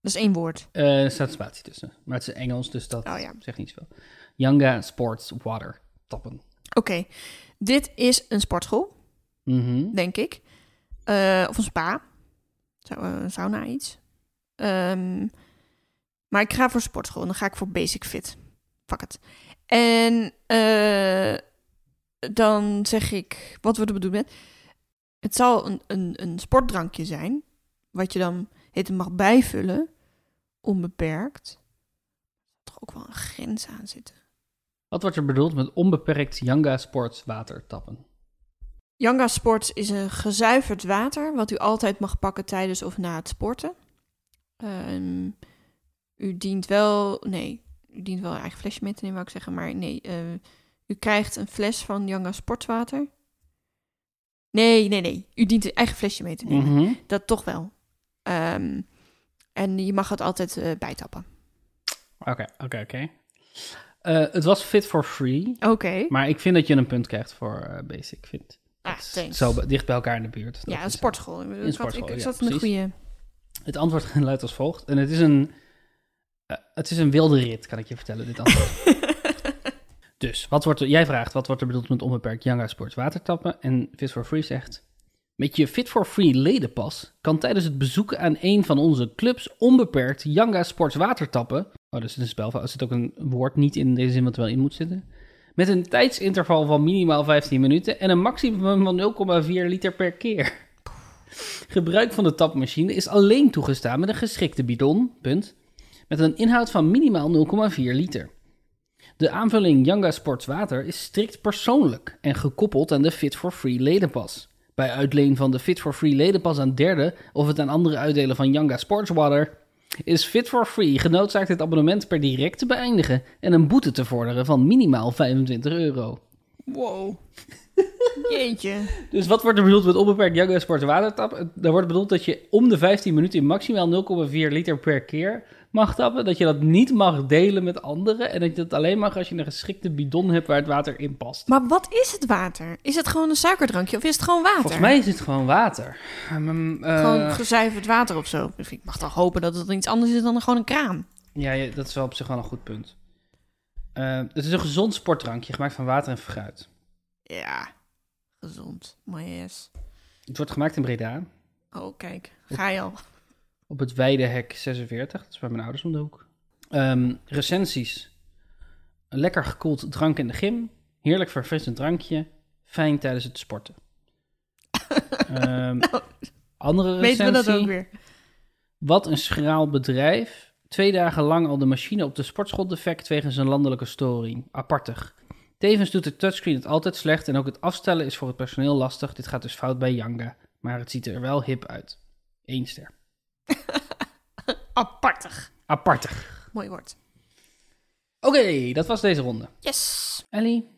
[SPEAKER 1] Dat is één woord.
[SPEAKER 2] Eh, Er staat spatie tussen. Maar het is Engels, dus dat
[SPEAKER 1] Oh ja.
[SPEAKER 2] zegt niet zoveel. Yanga Sports watertappen.
[SPEAKER 1] Oké, dit is een sportschool,
[SPEAKER 2] Mhm.
[SPEAKER 1] denk ik. Eh, of een spa. Zou, eh, een sauna iets. Ehm, maar ik ga voor sportschool en dan ga ik voor basic fit. Fuck het. En eh, dan zeg ik wat we er bedoeld met. Het zal een, een, een sportdrankje zijn. Wat je dan het mag bijvullen. Onbeperkt. Toch ook wel een grens aan zitten.
[SPEAKER 2] Wat wordt er bedoeld met onbeperkt Yanga Sports watertappen?
[SPEAKER 1] Yanga Sports is een gezuiverd water wat u altijd mag pakken tijdens of na het sporten. Ehm, u dient wel, nee, u dient wel een eigen flesje mee te nemen, wou ik zeggen, maar nee, eh, u krijgt een fles van Yanga Sportswater. Nee, nee, nee, u dient een eigen flesje mee te nemen.
[SPEAKER 2] Mhm.
[SPEAKER 1] Dat toch wel. Ehm, en je mag het altijd eh, bijtappen.
[SPEAKER 2] Oké, oké, oké. Eh, het was fit for free,
[SPEAKER 1] Oké.
[SPEAKER 2] maar ik vind dat je een punt krijgt voor eh, basic fit.
[SPEAKER 1] Ah,
[SPEAKER 2] Dat is
[SPEAKER 1] thanks.
[SPEAKER 2] Zo be- dicht bij elkaar in de buurt. Dat
[SPEAKER 1] Ja, een
[SPEAKER 2] is-
[SPEAKER 1] sportschool. Ik, had-
[SPEAKER 2] sportschool,
[SPEAKER 1] ik, ik
[SPEAKER 2] ja,
[SPEAKER 1] zat in de
[SPEAKER 2] precies. <laughs>
[SPEAKER 1] goede...
[SPEAKER 2] Het antwoord <laughs> luidt als volgt. En het is een, eh, het is een wilde rit, kan ik je vertellen, dit antwoord. dus, wat wordt er, jij vraagt, wat wordt er bedoeld met onbeperkt Yanga Sports watertappen? En Fit for Free zegt... Met je Fit for Free ledenpas kan tijdens het bezoeken aan een van onze clubs onbeperkt Yanga Sports watertappen... Oh, dat is een spelfout. Er zit ook een woord niet in deze zin wat er wel in moet zitten. Met een tijdsinterval van minimaal 15 minuten en een maximum van 0,4 liter per keer. <laughs> Gebruik van de tapmachine is alleen toegestaan met een geschikte bidon, punt, met een inhoud van minimaal 0,4 liter. De aanvulling Yanga Sports Water is strikt persoonlijk en gekoppeld aan de Fit for Free ledenpas. Bij uitleen van de Fit for Free ledenpas aan derden of het aan andere uitdelen van Yanga Sports Water is Fit for Free genoodzaakt het abonnement per direct te beëindigen en een boete te vorderen van minimaal 25 euro.
[SPEAKER 1] Wow. Jeetje.
[SPEAKER 2] Dus wat wordt er bedoeld met onbeperkt Young en Sports watertap? Daar wordt bedoeld dat je om de 15 minuten in maximaal 0,4 liter per keer mag tappen. Dat je dat niet mag delen met anderen. En dat je dat alleen mag als je een geschikte bidon hebt waar het water in past.
[SPEAKER 1] Maar wat is het water? Is het gewoon een suikerdrankje of is het gewoon water?
[SPEAKER 2] Volgens mij is het gewoon water. Ehm, ehm, eh,
[SPEAKER 1] Gewoon gezuiverd water of zo. Dus ik mag toch hopen dat het iets anders is dan gewoon een kraan.
[SPEAKER 2] ja, ja, dat is wel op zich wel een goed punt. Eh, het is een gezond sportdrankje gemaakt van water en fruit.
[SPEAKER 1] Ja, gezond. Mooi is.
[SPEAKER 2] Het wordt gemaakt in Breda.
[SPEAKER 1] Oh, kijk. Ga je al.
[SPEAKER 2] Op het Weidehek 46, dat is bij mijn ouders om de hoek. Ehm, recensies. Een lekker gekoeld drank in de gym. Heerlijk verfrissend drankje. Fijn tijdens
[SPEAKER 1] <laughs>
[SPEAKER 2] het sporten. Ehm, andere recensie.
[SPEAKER 1] Weten we dat ook weer?
[SPEAKER 2] Wat een schraal bedrijf. Twee dagen lang al de machine op de sportschool defect wegens een landelijke storing. Apartig. Tevens doet de touchscreen het altijd slecht en ook het afstellen is voor het personeel lastig. Dit gaat dus fout bij Yanga, maar het ziet er wel hip uit. Eén ster.
[SPEAKER 1] Apartig.
[SPEAKER 2] Apartig.
[SPEAKER 1] Mooi woord.
[SPEAKER 2] Oké, dat was deze ronde.
[SPEAKER 1] Yes.
[SPEAKER 2] Ellie,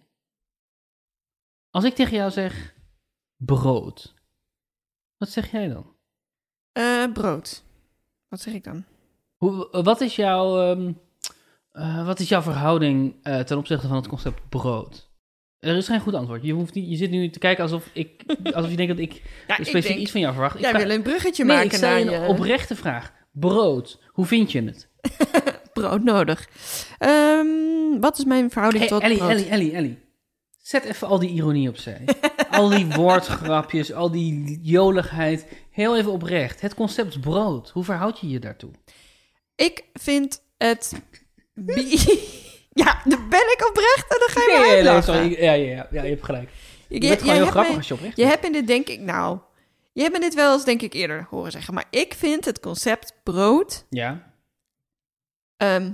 [SPEAKER 2] als ik tegen jou zeg brood, wat zeg jij dan?
[SPEAKER 1] Eh, brood. Wat zeg ik dan?
[SPEAKER 2] Hoe, wat, is jouw, ehm, eh, wat is jouw verhouding eh, ten opzichte van het concept brood? Er is geen goed antwoord. Je, hoeft niet, je zit nu te kijken alsof, ik, alsof je denkt dat ik
[SPEAKER 1] <laughs> Ja, ik
[SPEAKER 2] specifiek
[SPEAKER 1] denk,
[SPEAKER 2] iets van jou verwacht. Ik
[SPEAKER 1] jij
[SPEAKER 2] vraag-
[SPEAKER 1] wil een bruggetje
[SPEAKER 2] nee, ik eh,
[SPEAKER 1] maken
[SPEAKER 2] stel
[SPEAKER 1] naar
[SPEAKER 2] je
[SPEAKER 1] je
[SPEAKER 2] een oprechte vraag. Brood, hoe vind je het?
[SPEAKER 1] brood nodig. Ehm, wat is mijn verhouding
[SPEAKER 2] Hey,
[SPEAKER 1] tot
[SPEAKER 2] Ellie,
[SPEAKER 1] brood?
[SPEAKER 2] Ellie, Ellie, Ellie. Zet even al die ironie opzij. al die woordgrapjes, al die joligheid. Heel even oprecht. Het concept brood, hoe verhoud je je daartoe?
[SPEAKER 1] Ik vind het... bi- <laughs> ja, dan ben ik oprecht en dan ga je me
[SPEAKER 2] Nee, nee, nee,
[SPEAKER 1] uitlachen.
[SPEAKER 2] sorry. Ja, ja, ja, ja, je hebt gelijk.
[SPEAKER 1] Je,
[SPEAKER 2] Je bent gewoon heel
[SPEAKER 1] hebt
[SPEAKER 2] grappig
[SPEAKER 1] mij-
[SPEAKER 2] als je oprecht
[SPEAKER 1] Je
[SPEAKER 2] bent.
[SPEAKER 1] hebt in dit denk ik, nou, je hebt me dit wel eens denk ik eerder horen zeggen, maar ik vind het concept brood
[SPEAKER 2] Ja,
[SPEAKER 1] ehm,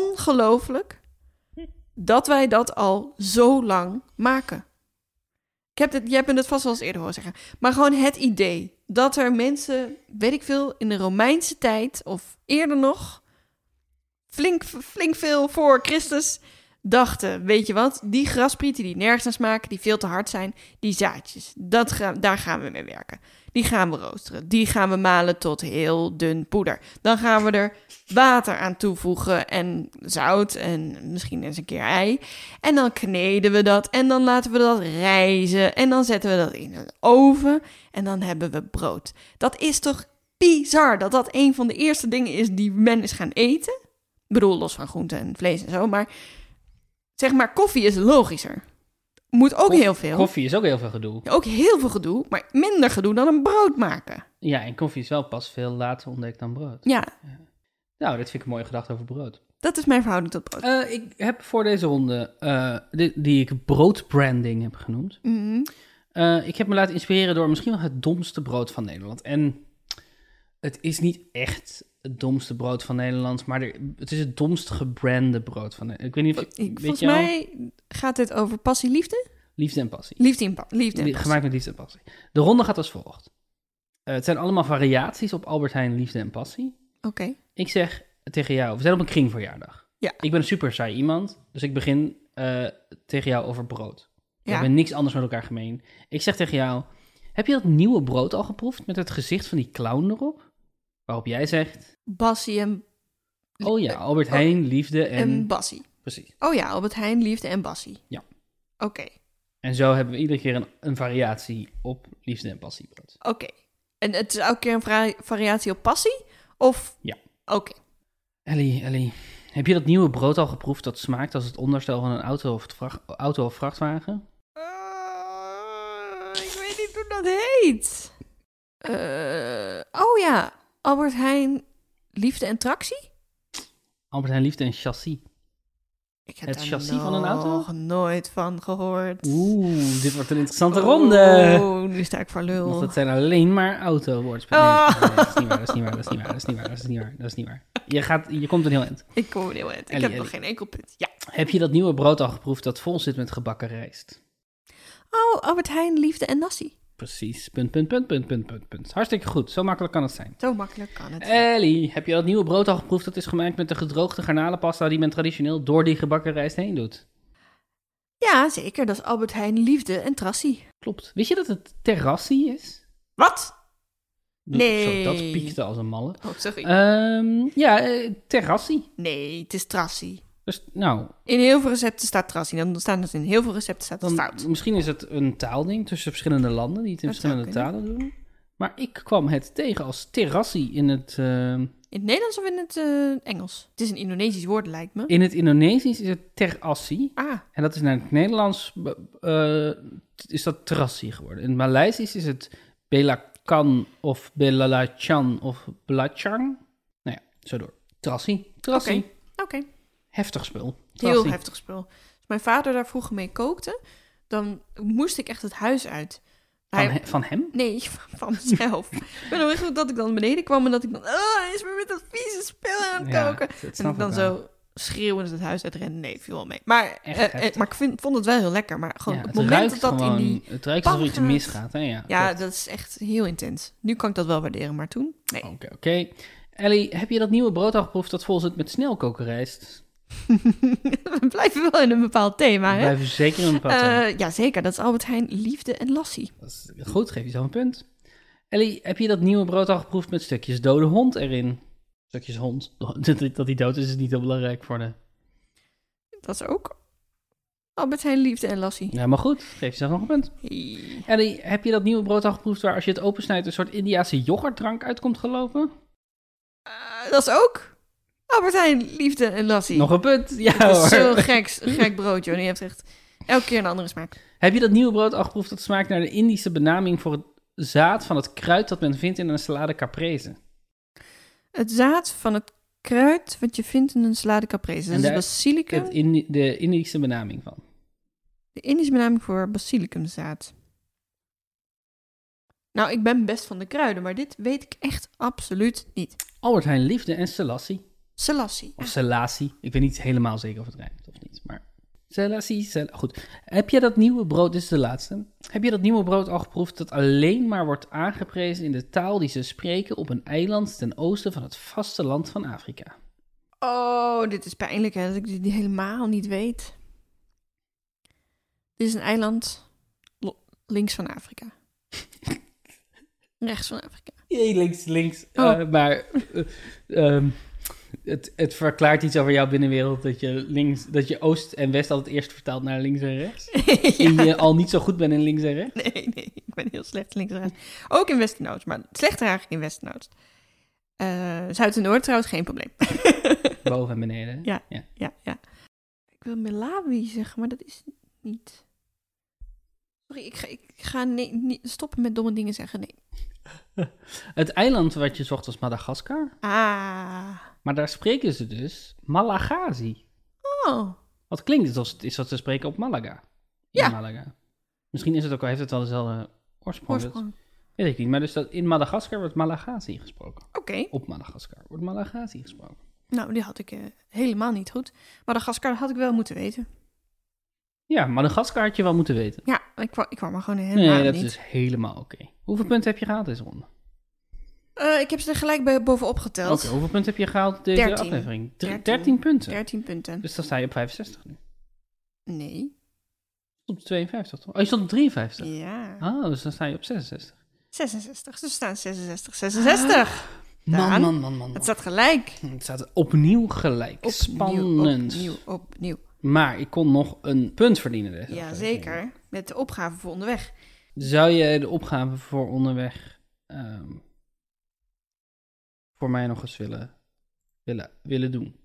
[SPEAKER 1] ongelooflijk dat wij dat al zo lang maken. Ik heb dit, je hebt me dat vast wel eens eerder horen zeggen, maar gewoon het idee dat er mensen, weet ik veel, in de Romeinse tijd of eerder nog, flink, flink veel voor Christus dachten, weet je wat, die grasprieten die nergens aan smaken, die veel te hard zijn, die zaadjes, dat ga- daar gaan we mee werken. Die gaan we roosteren, die gaan we malen tot heel dun poeder. Dan gaan we er water aan toevoegen en zout en misschien eens een keer ei. En dan kneden we dat en dan laten we dat rijzen en dan zetten we dat in een oven en dan hebben we brood. Dat is toch bizar dat dat een van de eerste dingen is die men is gaan eten? Ik bedoel, los van groenten en vlees en zo, maar zeg maar koffie is logischer. Moet ook
[SPEAKER 2] Koffie-
[SPEAKER 1] heel veel.
[SPEAKER 2] koffie is ook heel veel gedoe.
[SPEAKER 1] Ook heel veel gedoe, maar minder gedoe dan een brood maken.
[SPEAKER 2] Ja, en koffie is wel pas veel later ontdekt dan brood.
[SPEAKER 1] Ja,
[SPEAKER 2] Nou, dit vind ik een mooie gedachte over brood.
[SPEAKER 1] dat is mijn verhouding tot brood.
[SPEAKER 2] Eh, ik heb voor deze ronde, eh, di- die ik broodbranding heb genoemd,
[SPEAKER 1] Mhm.
[SPEAKER 2] Eh, ik heb me laten inspireren door misschien wel het domste brood van Nederland. En het is niet echt het domste brood van Nederland, maar er- het is het domst gebrande brood van Nederland. Ik weet niet of je,
[SPEAKER 1] Ik,
[SPEAKER 2] weet
[SPEAKER 1] volgens
[SPEAKER 2] je wel?
[SPEAKER 1] mij gaat dit over passie, liefde?
[SPEAKER 2] Liefde en passie.
[SPEAKER 1] Liefde in pa- liefde. en
[SPEAKER 2] Li-
[SPEAKER 1] passie.
[SPEAKER 2] Gemaakt met liefde en passie. De ronde gaat als volgt. Eh, het zijn allemaal variaties op Albert Heijn liefde en passie.
[SPEAKER 1] Oké.
[SPEAKER 2] Ik zeg tegen jou, we zijn op een kringverjaardag.
[SPEAKER 1] Ja.
[SPEAKER 2] Ik ben een super saai iemand, dus ik begin eh, tegen jou over brood. We
[SPEAKER 1] Ja.
[SPEAKER 2] hebben niks anders met elkaar gemeen. Ik zeg tegen jou, heb je dat nieuwe brood al geproefd met het gezicht van die clown erop? Waarop jij zegt,
[SPEAKER 1] Bassie en,
[SPEAKER 2] oh ja, Albert Heijn, liefde en...
[SPEAKER 1] en Bassie.
[SPEAKER 2] Precies.
[SPEAKER 1] Oh ja, Albert Heijn, liefde en Bassie.
[SPEAKER 2] Ja.
[SPEAKER 1] Oké,
[SPEAKER 2] En zo hebben we iedere keer een, een variatie op liefde en passiebrood.
[SPEAKER 1] oké. En het is elke keer een vari- variatie op passie? Of?
[SPEAKER 2] Ja.
[SPEAKER 1] Oké.
[SPEAKER 2] Ellie, Ellie, heb je dat nieuwe brood al geproefd dat smaakt als het onderstel van een auto of, vracht- auto of vrachtwagen?
[SPEAKER 1] Eh, ik weet niet hoe dat heet. Eh, oh ja, Albert Heijn, liefde en tractie?
[SPEAKER 2] Albert Heijn, liefde en chassis.
[SPEAKER 1] Ik heb
[SPEAKER 2] Het
[SPEAKER 1] daar
[SPEAKER 2] chassis van een auto?
[SPEAKER 1] nog nooit van gehoord.
[SPEAKER 2] Oeh, dit wordt een interessante
[SPEAKER 1] Oh.
[SPEAKER 2] ronde.
[SPEAKER 1] Oeh, nu sta ik voor
[SPEAKER 2] Want
[SPEAKER 1] lul.
[SPEAKER 2] dat zijn alleen maar autowoordspelen. Nee,
[SPEAKER 1] Oh.
[SPEAKER 2] nee, dat is niet waar, dat is niet waar, dat is niet waar, dat is niet waar, dat is niet waar. Dat is niet waar. Je, gaat, je komt een heel eind.
[SPEAKER 1] Ik kom er heel uit. Ik
[SPEAKER 2] Ellie,
[SPEAKER 1] heb
[SPEAKER 2] Ellie.
[SPEAKER 1] nog geen enkel punt. Ja.
[SPEAKER 2] Heb je dat nieuwe brood al geproefd dat vol zit met gebakken rijst?
[SPEAKER 1] Oh, Albert Heijn, liefde en nasi.
[SPEAKER 2] Precies. Punt, punt, punt, punt, punt, punt, punt. Hartstikke goed. Zo makkelijk kan het zijn.
[SPEAKER 1] Zo makkelijk kan het.
[SPEAKER 2] Eh. Ellie, heb je dat nieuwe brood al geproefd dat is gemaakt met de gedroogde garnalenpasta die men traditioneel door die gebakken rijst heen doet?
[SPEAKER 1] Ja, zeker. Dat is Albert Heijn, liefde en trassie.
[SPEAKER 2] Klopt. Wist je dat het terrassie is?
[SPEAKER 1] Wat?
[SPEAKER 2] Zo,
[SPEAKER 1] Nee.
[SPEAKER 2] dat piekte als een malle.
[SPEAKER 1] Oh, sorry.
[SPEAKER 2] Ehm, ja, eh, terrassie.
[SPEAKER 1] nee, het is trassie.
[SPEAKER 2] Dus nou,
[SPEAKER 1] In heel veel recepten staat trassie. Dan staat het in heel veel recepten staat het
[SPEAKER 2] Dan,
[SPEAKER 1] fout.
[SPEAKER 2] Misschien is het een taalding tussen verschillende landen die het in
[SPEAKER 1] Dat zou
[SPEAKER 2] verschillende talen doen. Maar ik kwam het tegen als terrassie in het, eh,
[SPEAKER 1] In het Nederlands of in het eh, Engels? Het is een Indonesisch woord, lijkt me.
[SPEAKER 2] in het Indonesisch is het terassi.
[SPEAKER 1] Ah,
[SPEAKER 2] En dat is naar het Nederlands eh, t- is dat terassi geworden. In het Maleisisch is het belakan of belalachan of belachang. Nou ja, zo door. Terassi. Terassi.
[SPEAKER 1] Oké. oké.
[SPEAKER 2] Heftig spul.
[SPEAKER 1] Heel
[SPEAKER 2] Terrassie.
[SPEAKER 1] heftig spul. Als mijn vader daar vroeger mee kookte, dan moest ik echt het huis uit.
[SPEAKER 2] Van,
[SPEAKER 1] Hij-
[SPEAKER 2] he- van hem?
[SPEAKER 1] Nee, <laughs> van- van mezelf. ik ben nog goed dat ik dan beneden kwam en dat ik dan... Oh, hij is weer met dat vieze spul aan het
[SPEAKER 2] Ja,
[SPEAKER 1] koken.
[SPEAKER 2] dat snap
[SPEAKER 1] En ik dan
[SPEAKER 2] ik wel.
[SPEAKER 1] zo schreeuwend het huis uitrennen. Nee, viel wel mee. Maar,
[SPEAKER 2] Echt
[SPEAKER 1] eh, eh,
[SPEAKER 2] heftig.
[SPEAKER 1] maar ik vind, vond het wel heel lekker. Maar gewoon
[SPEAKER 2] Ja,
[SPEAKER 1] op
[SPEAKER 2] het
[SPEAKER 1] het moment dat
[SPEAKER 2] ruikt
[SPEAKER 1] dat
[SPEAKER 2] gewoon,
[SPEAKER 1] in die...
[SPEAKER 2] het ruikt alsof er
[SPEAKER 1] pan
[SPEAKER 2] iets
[SPEAKER 1] gaat.
[SPEAKER 2] misgaat. Hè? Ja,
[SPEAKER 1] Ja,
[SPEAKER 2] klopt.
[SPEAKER 1] dat is echt heel intens. Nu kan ik dat wel waarderen, maar toen? Nee.
[SPEAKER 2] Oké, oké. Ellie, heb je dat nieuwe brood al geproefd dat vol zit met snelkokerrijst?
[SPEAKER 1] <laughs> We blijven wel in een bepaald thema,
[SPEAKER 2] We
[SPEAKER 1] hè?
[SPEAKER 2] blijven zeker een pad. aan.
[SPEAKER 1] Eh, ja, zeker. Dat is Albert Heijn, liefde en lassie.
[SPEAKER 2] Dat is goed, geef jezelf een punt. Ellie, heb je dat nieuwe brood al geproefd met stukjes dode hond erin? Stukjes hond. <laughs> Dat dat die dood is, is niet heel belangrijk voor de...
[SPEAKER 1] Dat is ook Albert Heijn, liefde en lassie. Eh,
[SPEAKER 2] Ja, maar goed, geef jezelf nog een punt.
[SPEAKER 1] Hey.
[SPEAKER 2] Ellie, heb je dat nieuwe brood al geproefd waar als je het opensnijdt een soort Indiase yoghurtdrank uitkomt gelopen?
[SPEAKER 1] Eh, dat is ook Albert Heijn, liefde en lassie.
[SPEAKER 2] Nog een punt?
[SPEAKER 1] <laughs>
[SPEAKER 2] Ja
[SPEAKER 1] dat is
[SPEAKER 2] hoor.
[SPEAKER 1] zo'n gek, gek brood, joh. Die heeft echt elke keer een andere smaak.
[SPEAKER 2] Heb je dat nieuwe brood al geproefd dat smaakt naar de Indische benaming voor het zaad van het kruid dat men vindt in een salade caprese?
[SPEAKER 1] Het zaad van het kruid wat je vindt in een salade caprese.
[SPEAKER 2] En
[SPEAKER 1] Dat is
[SPEAKER 2] daar-
[SPEAKER 1] basilicum.
[SPEAKER 2] Het Indi- de Indische benaming van.
[SPEAKER 1] De Indische benaming voor basilicumzaad. Nou, ik ben best van de kruiden, maar dit weet ik echt absoluut niet.
[SPEAKER 2] Albert Heijn Liefde en Selassie.
[SPEAKER 1] Selassie.
[SPEAKER 2] Of Selassie. Ik weet niet helemaal zeker of het rijmt of niet. Maar Selassie, Sel- Goed. Heb je dat nieuwe brood, dit is de laatste. Heb je dat nieuwe brood al geproefd dat alleen maar wordt aangeprezen in de taal die ze spreken op een eiland ten oosten van het vasteland van Afrika?
[SPEAKER 1] Oh, dit is pijnlijk hè, dat ik dit helemaal niet weet. Dit is een eiland lo- links van <laughs> Afrika. Rechts van <laughs> Afrika.
[SPEAKER 2] Nee, links, links.
[SPEAKER 1] Oh.
[SPEAKER 2] Eh, maar eh, ehm, het, het verklaart iets over jouw binnenwereld dat je, links, dat je oost en west altijd eerst vertaalt naar links en rechts. En
[SPEAKER 1] Ja.
[SPEAKER 2] je eh, al niet zo goed bent in links en rechts.
[SPEAKER 1] Nee, nee, ik ben heel slecht links en rechts. Ook in Westernoost, maar slechter eigenlijk in Westernoost. Eh Zuid en Noord trouwens, geen probleem. <laughs>
[SPEAKER 2] Boven en beneden.
[SPEAKER 1] Ja.
[SPEAKER 2] ja.
[SPEAKER 1] Ja, ja. Ik wil Malawi zeggen, maar dat is niet. Sorry, ik ga, ik ga nee, niet stoppen met domme dingen zeggen. Nee.
[SPEAKER 2] Het eiland wat je zocht was Madagaskar.
[SPEAKER 1] Ah.
[SPEAKER 2] Maar daar spreken ze dus Malagazi.
[SPEAKER 1] Oh.
[SPEAKER 2] Wat klinkt het als het is wat ze spreken op Malaga. In
[SPEAKER 1] Ja.
[SPEAKER 2] Malaga. Misschien is het ook al, heeft het wel dezelfde oorsprong. dat
[SPEAKER 1] Oorsprong.
[SPEAKER 2] weet ik niet. Maar dus dat in Madagaskar wordt Malagazi gesproken.
[SPEAKER 1] Oké.
[SPEAKER 2] Op Madagaskar wordt Malagazi gesproken.
[SPEAKER 1] Nou, die had ik eh, helemaal niet goed. Maar de gaskar had ik wel moeten weten.
[SPEAKER 2] Ja, Madagaskar had je wel moeten weten.
[SPEAKER 1] Ja, ik, kwa- ik kwam er gewoon helemaal
[SPEAKER 2] Nee, dat
[SPEAKER 1] niet.
[SPEAKER 2] is helemaal oké. Hoeveel punten heb je gehaald deze ronde?
[SPEAKER 1] Eh, ik heb ze er gelijk bij, bovenop
[SPEAKER 2] Oké,
[SPEAKER 1] geteld.
[SPEAKER 2] hoeveel punten heb je gehaald deze
[SPEAKER 1] Dertien.
[SPEAKER 2] aflevering?
[SPEAKER 1] Dertien.
[SPEAKER 2] 13 punten.
[SPEAKER 1] 13 punten.
[SPEAKER 2] Dus dan sta je op 65 nu.
[SPEAKER 1] Nee.
[SPEAKER 2] Op 52, toch? Oh, je stond op 53.
[SPEAKER 1] Ja.
[SPEAKER 2] Oh, dus dan sta je op 66.
[SPEAKER 1] 66. Ze staan
[SPEAKER 2] Ah.
[SPEAKER 1] 66, 66. Daan,
[SPEAKER 2] Man, man, man, man.
[SPEAKER 1] Het
[SPEAKER 2] man.
[SPEAKER 1] staat gelijk.
[SPEAKER 2] Het staat opnieuw gelijk.
[SPEAKER 1] Opnieuw,
[SPEAKER 2] Spannend.
[SPEAKER 1] Opnieuw, opnieuw.
[SPEAKER 2] Maar ik kon nog een punt verdienen. Deze
[SPEAKER 1] Ja,
[SPEAKER 2] aflevering.
[SPEAKER 1] zeker. Met de opgave voor onderweg.
[SPEAKER 2] Zou je de opgave voor onderweg ehm, voor mij nog eens willen, willen, willen doen?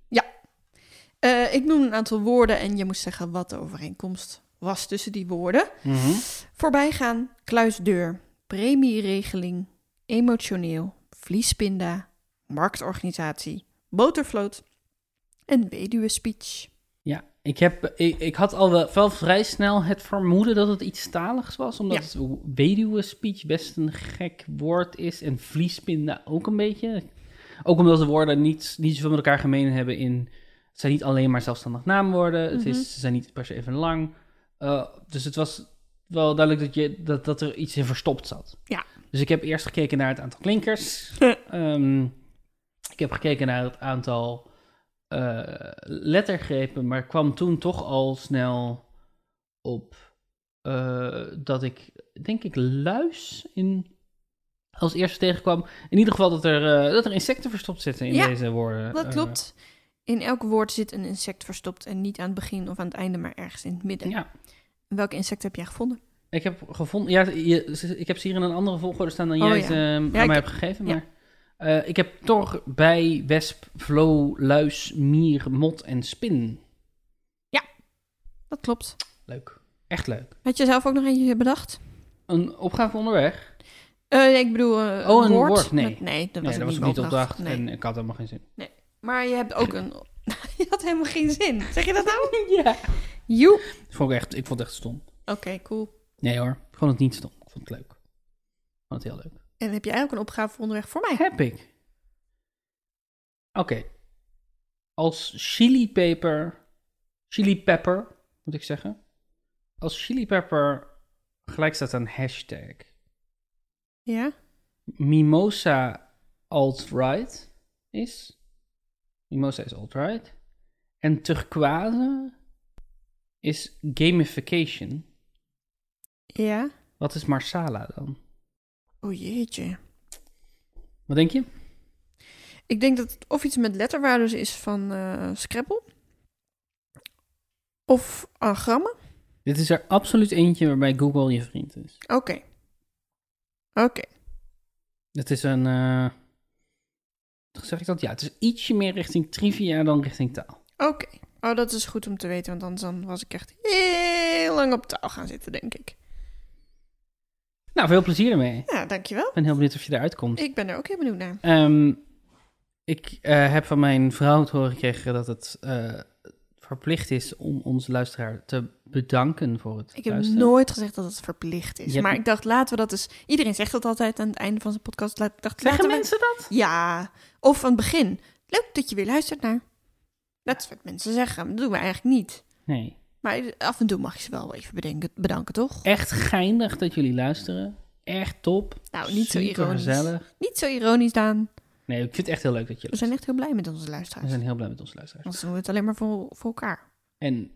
[SPEAKER 1] Eh, ik noem een aantal woorden en je moest zeggen wat de overeenkomst was tussen die woorden.
[SPEAKER 2] Mhm.
[SPEAKER 1] Voorbijgaan, kluisdeur, premieregeling, emotioneel, vliespinda, marktorganisatie, botervloot en weduwe speech.
[SPEAKER 2] Ja, ik, heb, ik, ik had al wel, wel vrij snel het vermoeden dat het iets taligs was. Omdat
[SPEAKER 1] Ja.
[SPEAKER 2] het weduwe speech best een gek woord is. En vliespinden ook een beetje. Ook omdat de woorden niet, niet zoveel met elkaar gemeen hebben in... Het zijn niet alleen maar zelfstandig naamwoorden. Het
[SPEAKER 1] Mhm.
[SPEAKER 2] is, ze zijn niet per se even lang. Eh, dus het was wel duidelijk dat, je, dat, dat er iets in verstopt zat.
[SPEAKER 1] Ja.
[SPEAKER 2] Dus ik heb eerst gekeken naar het aantal klinkers. Ehm, ik heb gekeken naar het aantal eh, lettergrepen, maar kwam toen toch al snel op eh, dat ik, denk ik, luis in, als eerste tegenkwam. In ieder geval dat er, eh, dat er insecten verstopt zitten in
[SPEAKER 1] Ja,
[SPEAKER 2] deze woorden.
[SPEAKER 1] Dat
[SPEAKER 2] Eh,
[SPEAKER 1] klopt. In elk woord zit een insect verstopt en niet aan het begin of aan het einde, maar ergens in het midden.
[SPEAKER 2] ja,
[SPEAKER 1] Welk insect heb jij gevonden?
[SPEAKER 2] ik heb gevonden. Ja, je- ze- ik heb ze hier in een andere volgorde staan dan
[SPEAKER 1] Oh,
[SPEAKER 2] jij
[SPEAKER 1] ja.
[SPEAKER 2] ze eh, aan
[SPEAKER 1] ik-
[SPEAKER 2] mij hebt gegeven.
[SPEAKER 1] ja.
[SPEAKER 2] Maar eh, ik heb toch bij wesp, vlo, luis, mier, mot en spin.
[SPEAKER 1] Dat klopt.
[SPEAKER 2] Leuk. Echt leuk.
[SPEAKER 1] Had je zelf ook nog eentje bedacht?
[SPEAKER 2] Een opgave onderweg.
[SPEAKER 1] Eh, nee, ik bedoel, eh,
[SPEAKER 2] Oh, een woord, nee.
[SPEAKER 1] Met- nee, dat was, het
[SPEAKER 2] nee, Nou, dat was
[SPEAKER 1] niet
[SPEAKER 2] ook niet
[SPEAKER 1] mijn
[SPEAKER 2] de opdracht
[SPEAKER 1] Nee.
[SPEAKER 2] en ik had helemaal geen zin.
[SPEAKER 1] Maar je hebt ook een... <laughs> je had helemaal geen zin. Zeg je dat nou?
[SPEAKER 2] Ja.
[SPEAKER 1] Joep.
[SPEAKER 2] Vond ik, echt, ik vond het echt stom.
[SPEAKER 1] Oké, cool.
[SPEAKER 2] Nee hoor, ik vond het niet stom. Ik vond het leuk. Ik vond het heel leuk.
[SPEAKER 1] En heb jij ook een opgave voor onderweg voor mij?
[SPEAKER 2] Heb ik. Oké. als chili peper, chili pepper moet ik zeggen, als chili pepper gelijk staat aan hashtag
[SPEAKER 1] Ja?
[SPEAKER 2] mimosa alt-right is, mimosa is alt-right, en turquoise is gamification.
[SPEAKER 1] Ja?
[SPEAKER 2] Wat is Marsala dan?
[SPEAKER 1] O jeetje.
[SPEAKER 2] Wat denk je?
[SPEAKER 1] Ik denk dat het of iets met letterwaardes is van eh, Scrabble. Of anagrammen.
[SPEAKER 2] Dit is er absoluut eentje waarbij Google je vriend is.
[SPEAKER 1] Oké. Oké.
[SPEAKER 2] Het is een. eh, zeg ik dat? Ja, het is ietsje meer richting trivia dan richting taal.
[SPEAKER 1] Oké. Oh, dat is goed om te weten, want anders dan was ik echt heel lang op taal gaan zitten, denk ik.
[SPEAKER 2] Nou, veel plezier ermee. Ik
[SPEAKER 1] Ja, dankjewel.
[SPEAKER 2] ben heel benieuwd of je eruit komt.
[SPEAKER 1] Ik ben er ook heel benieuwd naar.
[SPEAKER 2] Ehm, ik eh, heb van mijn vrouw te horen gekregen dat het eh, verplicht is om onze luisteraar te bedanken voor het
[SPEAKER 1] Ik heb
[SPEAKER 2] luisteren.
[SPEAKER 1] nooit gezegd dat het verplicht is.
[SPEAKER 2] Je hebt-
[SPEAKER 1] Maar ik dacht, laten we dat eens... Iedereen zegt dat altijd aan het einde van zijn podcast. Laat, ik dacht,
[SPEAKER 2] Zeggen
[SPEAKER 1] laten we-
[SPEAKER 2] mensen dat?
[SPEAKER 1] Ja, of aan het begin. Leuk dat je weer luistert naar. Dat is wat mensen zeggen. Dat doen we eigenlijk niet.
[SPEAKER 2] Nee. Maar
[SPEAKER 1] Maar af en toe mag je ze wel even bedenken, bedanken, toch?
[SPEAKER 2] echt geinig dat jullie luisteren. Echt top.
[SPEAKER 1] Nou, niet zo ironisch.
[SPEAKER 2] gezellig.
[SPEAKER 1] Niet zo ironisch, Daan.
[SPEAKER 2] Nee, ik vind het echt heel leuk dat je
[SPEAKER 1] We zijn echt heel blij met onze luisteraars.
[SPEAKER 2] We zijn heel blij met onze luisteraars.
[SPEAKER 1] Anders doen we het alleen maar voor, voor elkaar.
[SPEAKER 2] En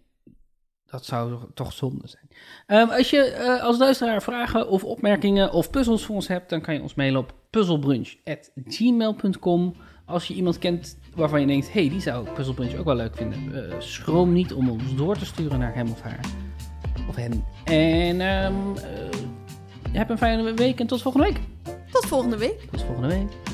[SPEAKER 2] dat zou toch- toch zonde zijn. Ehm, als je eh, als luisteraar vragen of opmerkingen of puzzels voor ons hebt, dan kan je ons mailen op puzzelbrunch.gmail.com. Als je iemand kent waarvan je denkt, hey, die zou puzzelbrunch ook wel leuk vinden, eh, schroom niet om ons door te sturen naar hem of haar. Of hen. En ehm, eh, heb een fijne week en tot volgende week.
[SPEAKER 1] Tot volgende week.
[SPEAKER 2] Tot volgende week.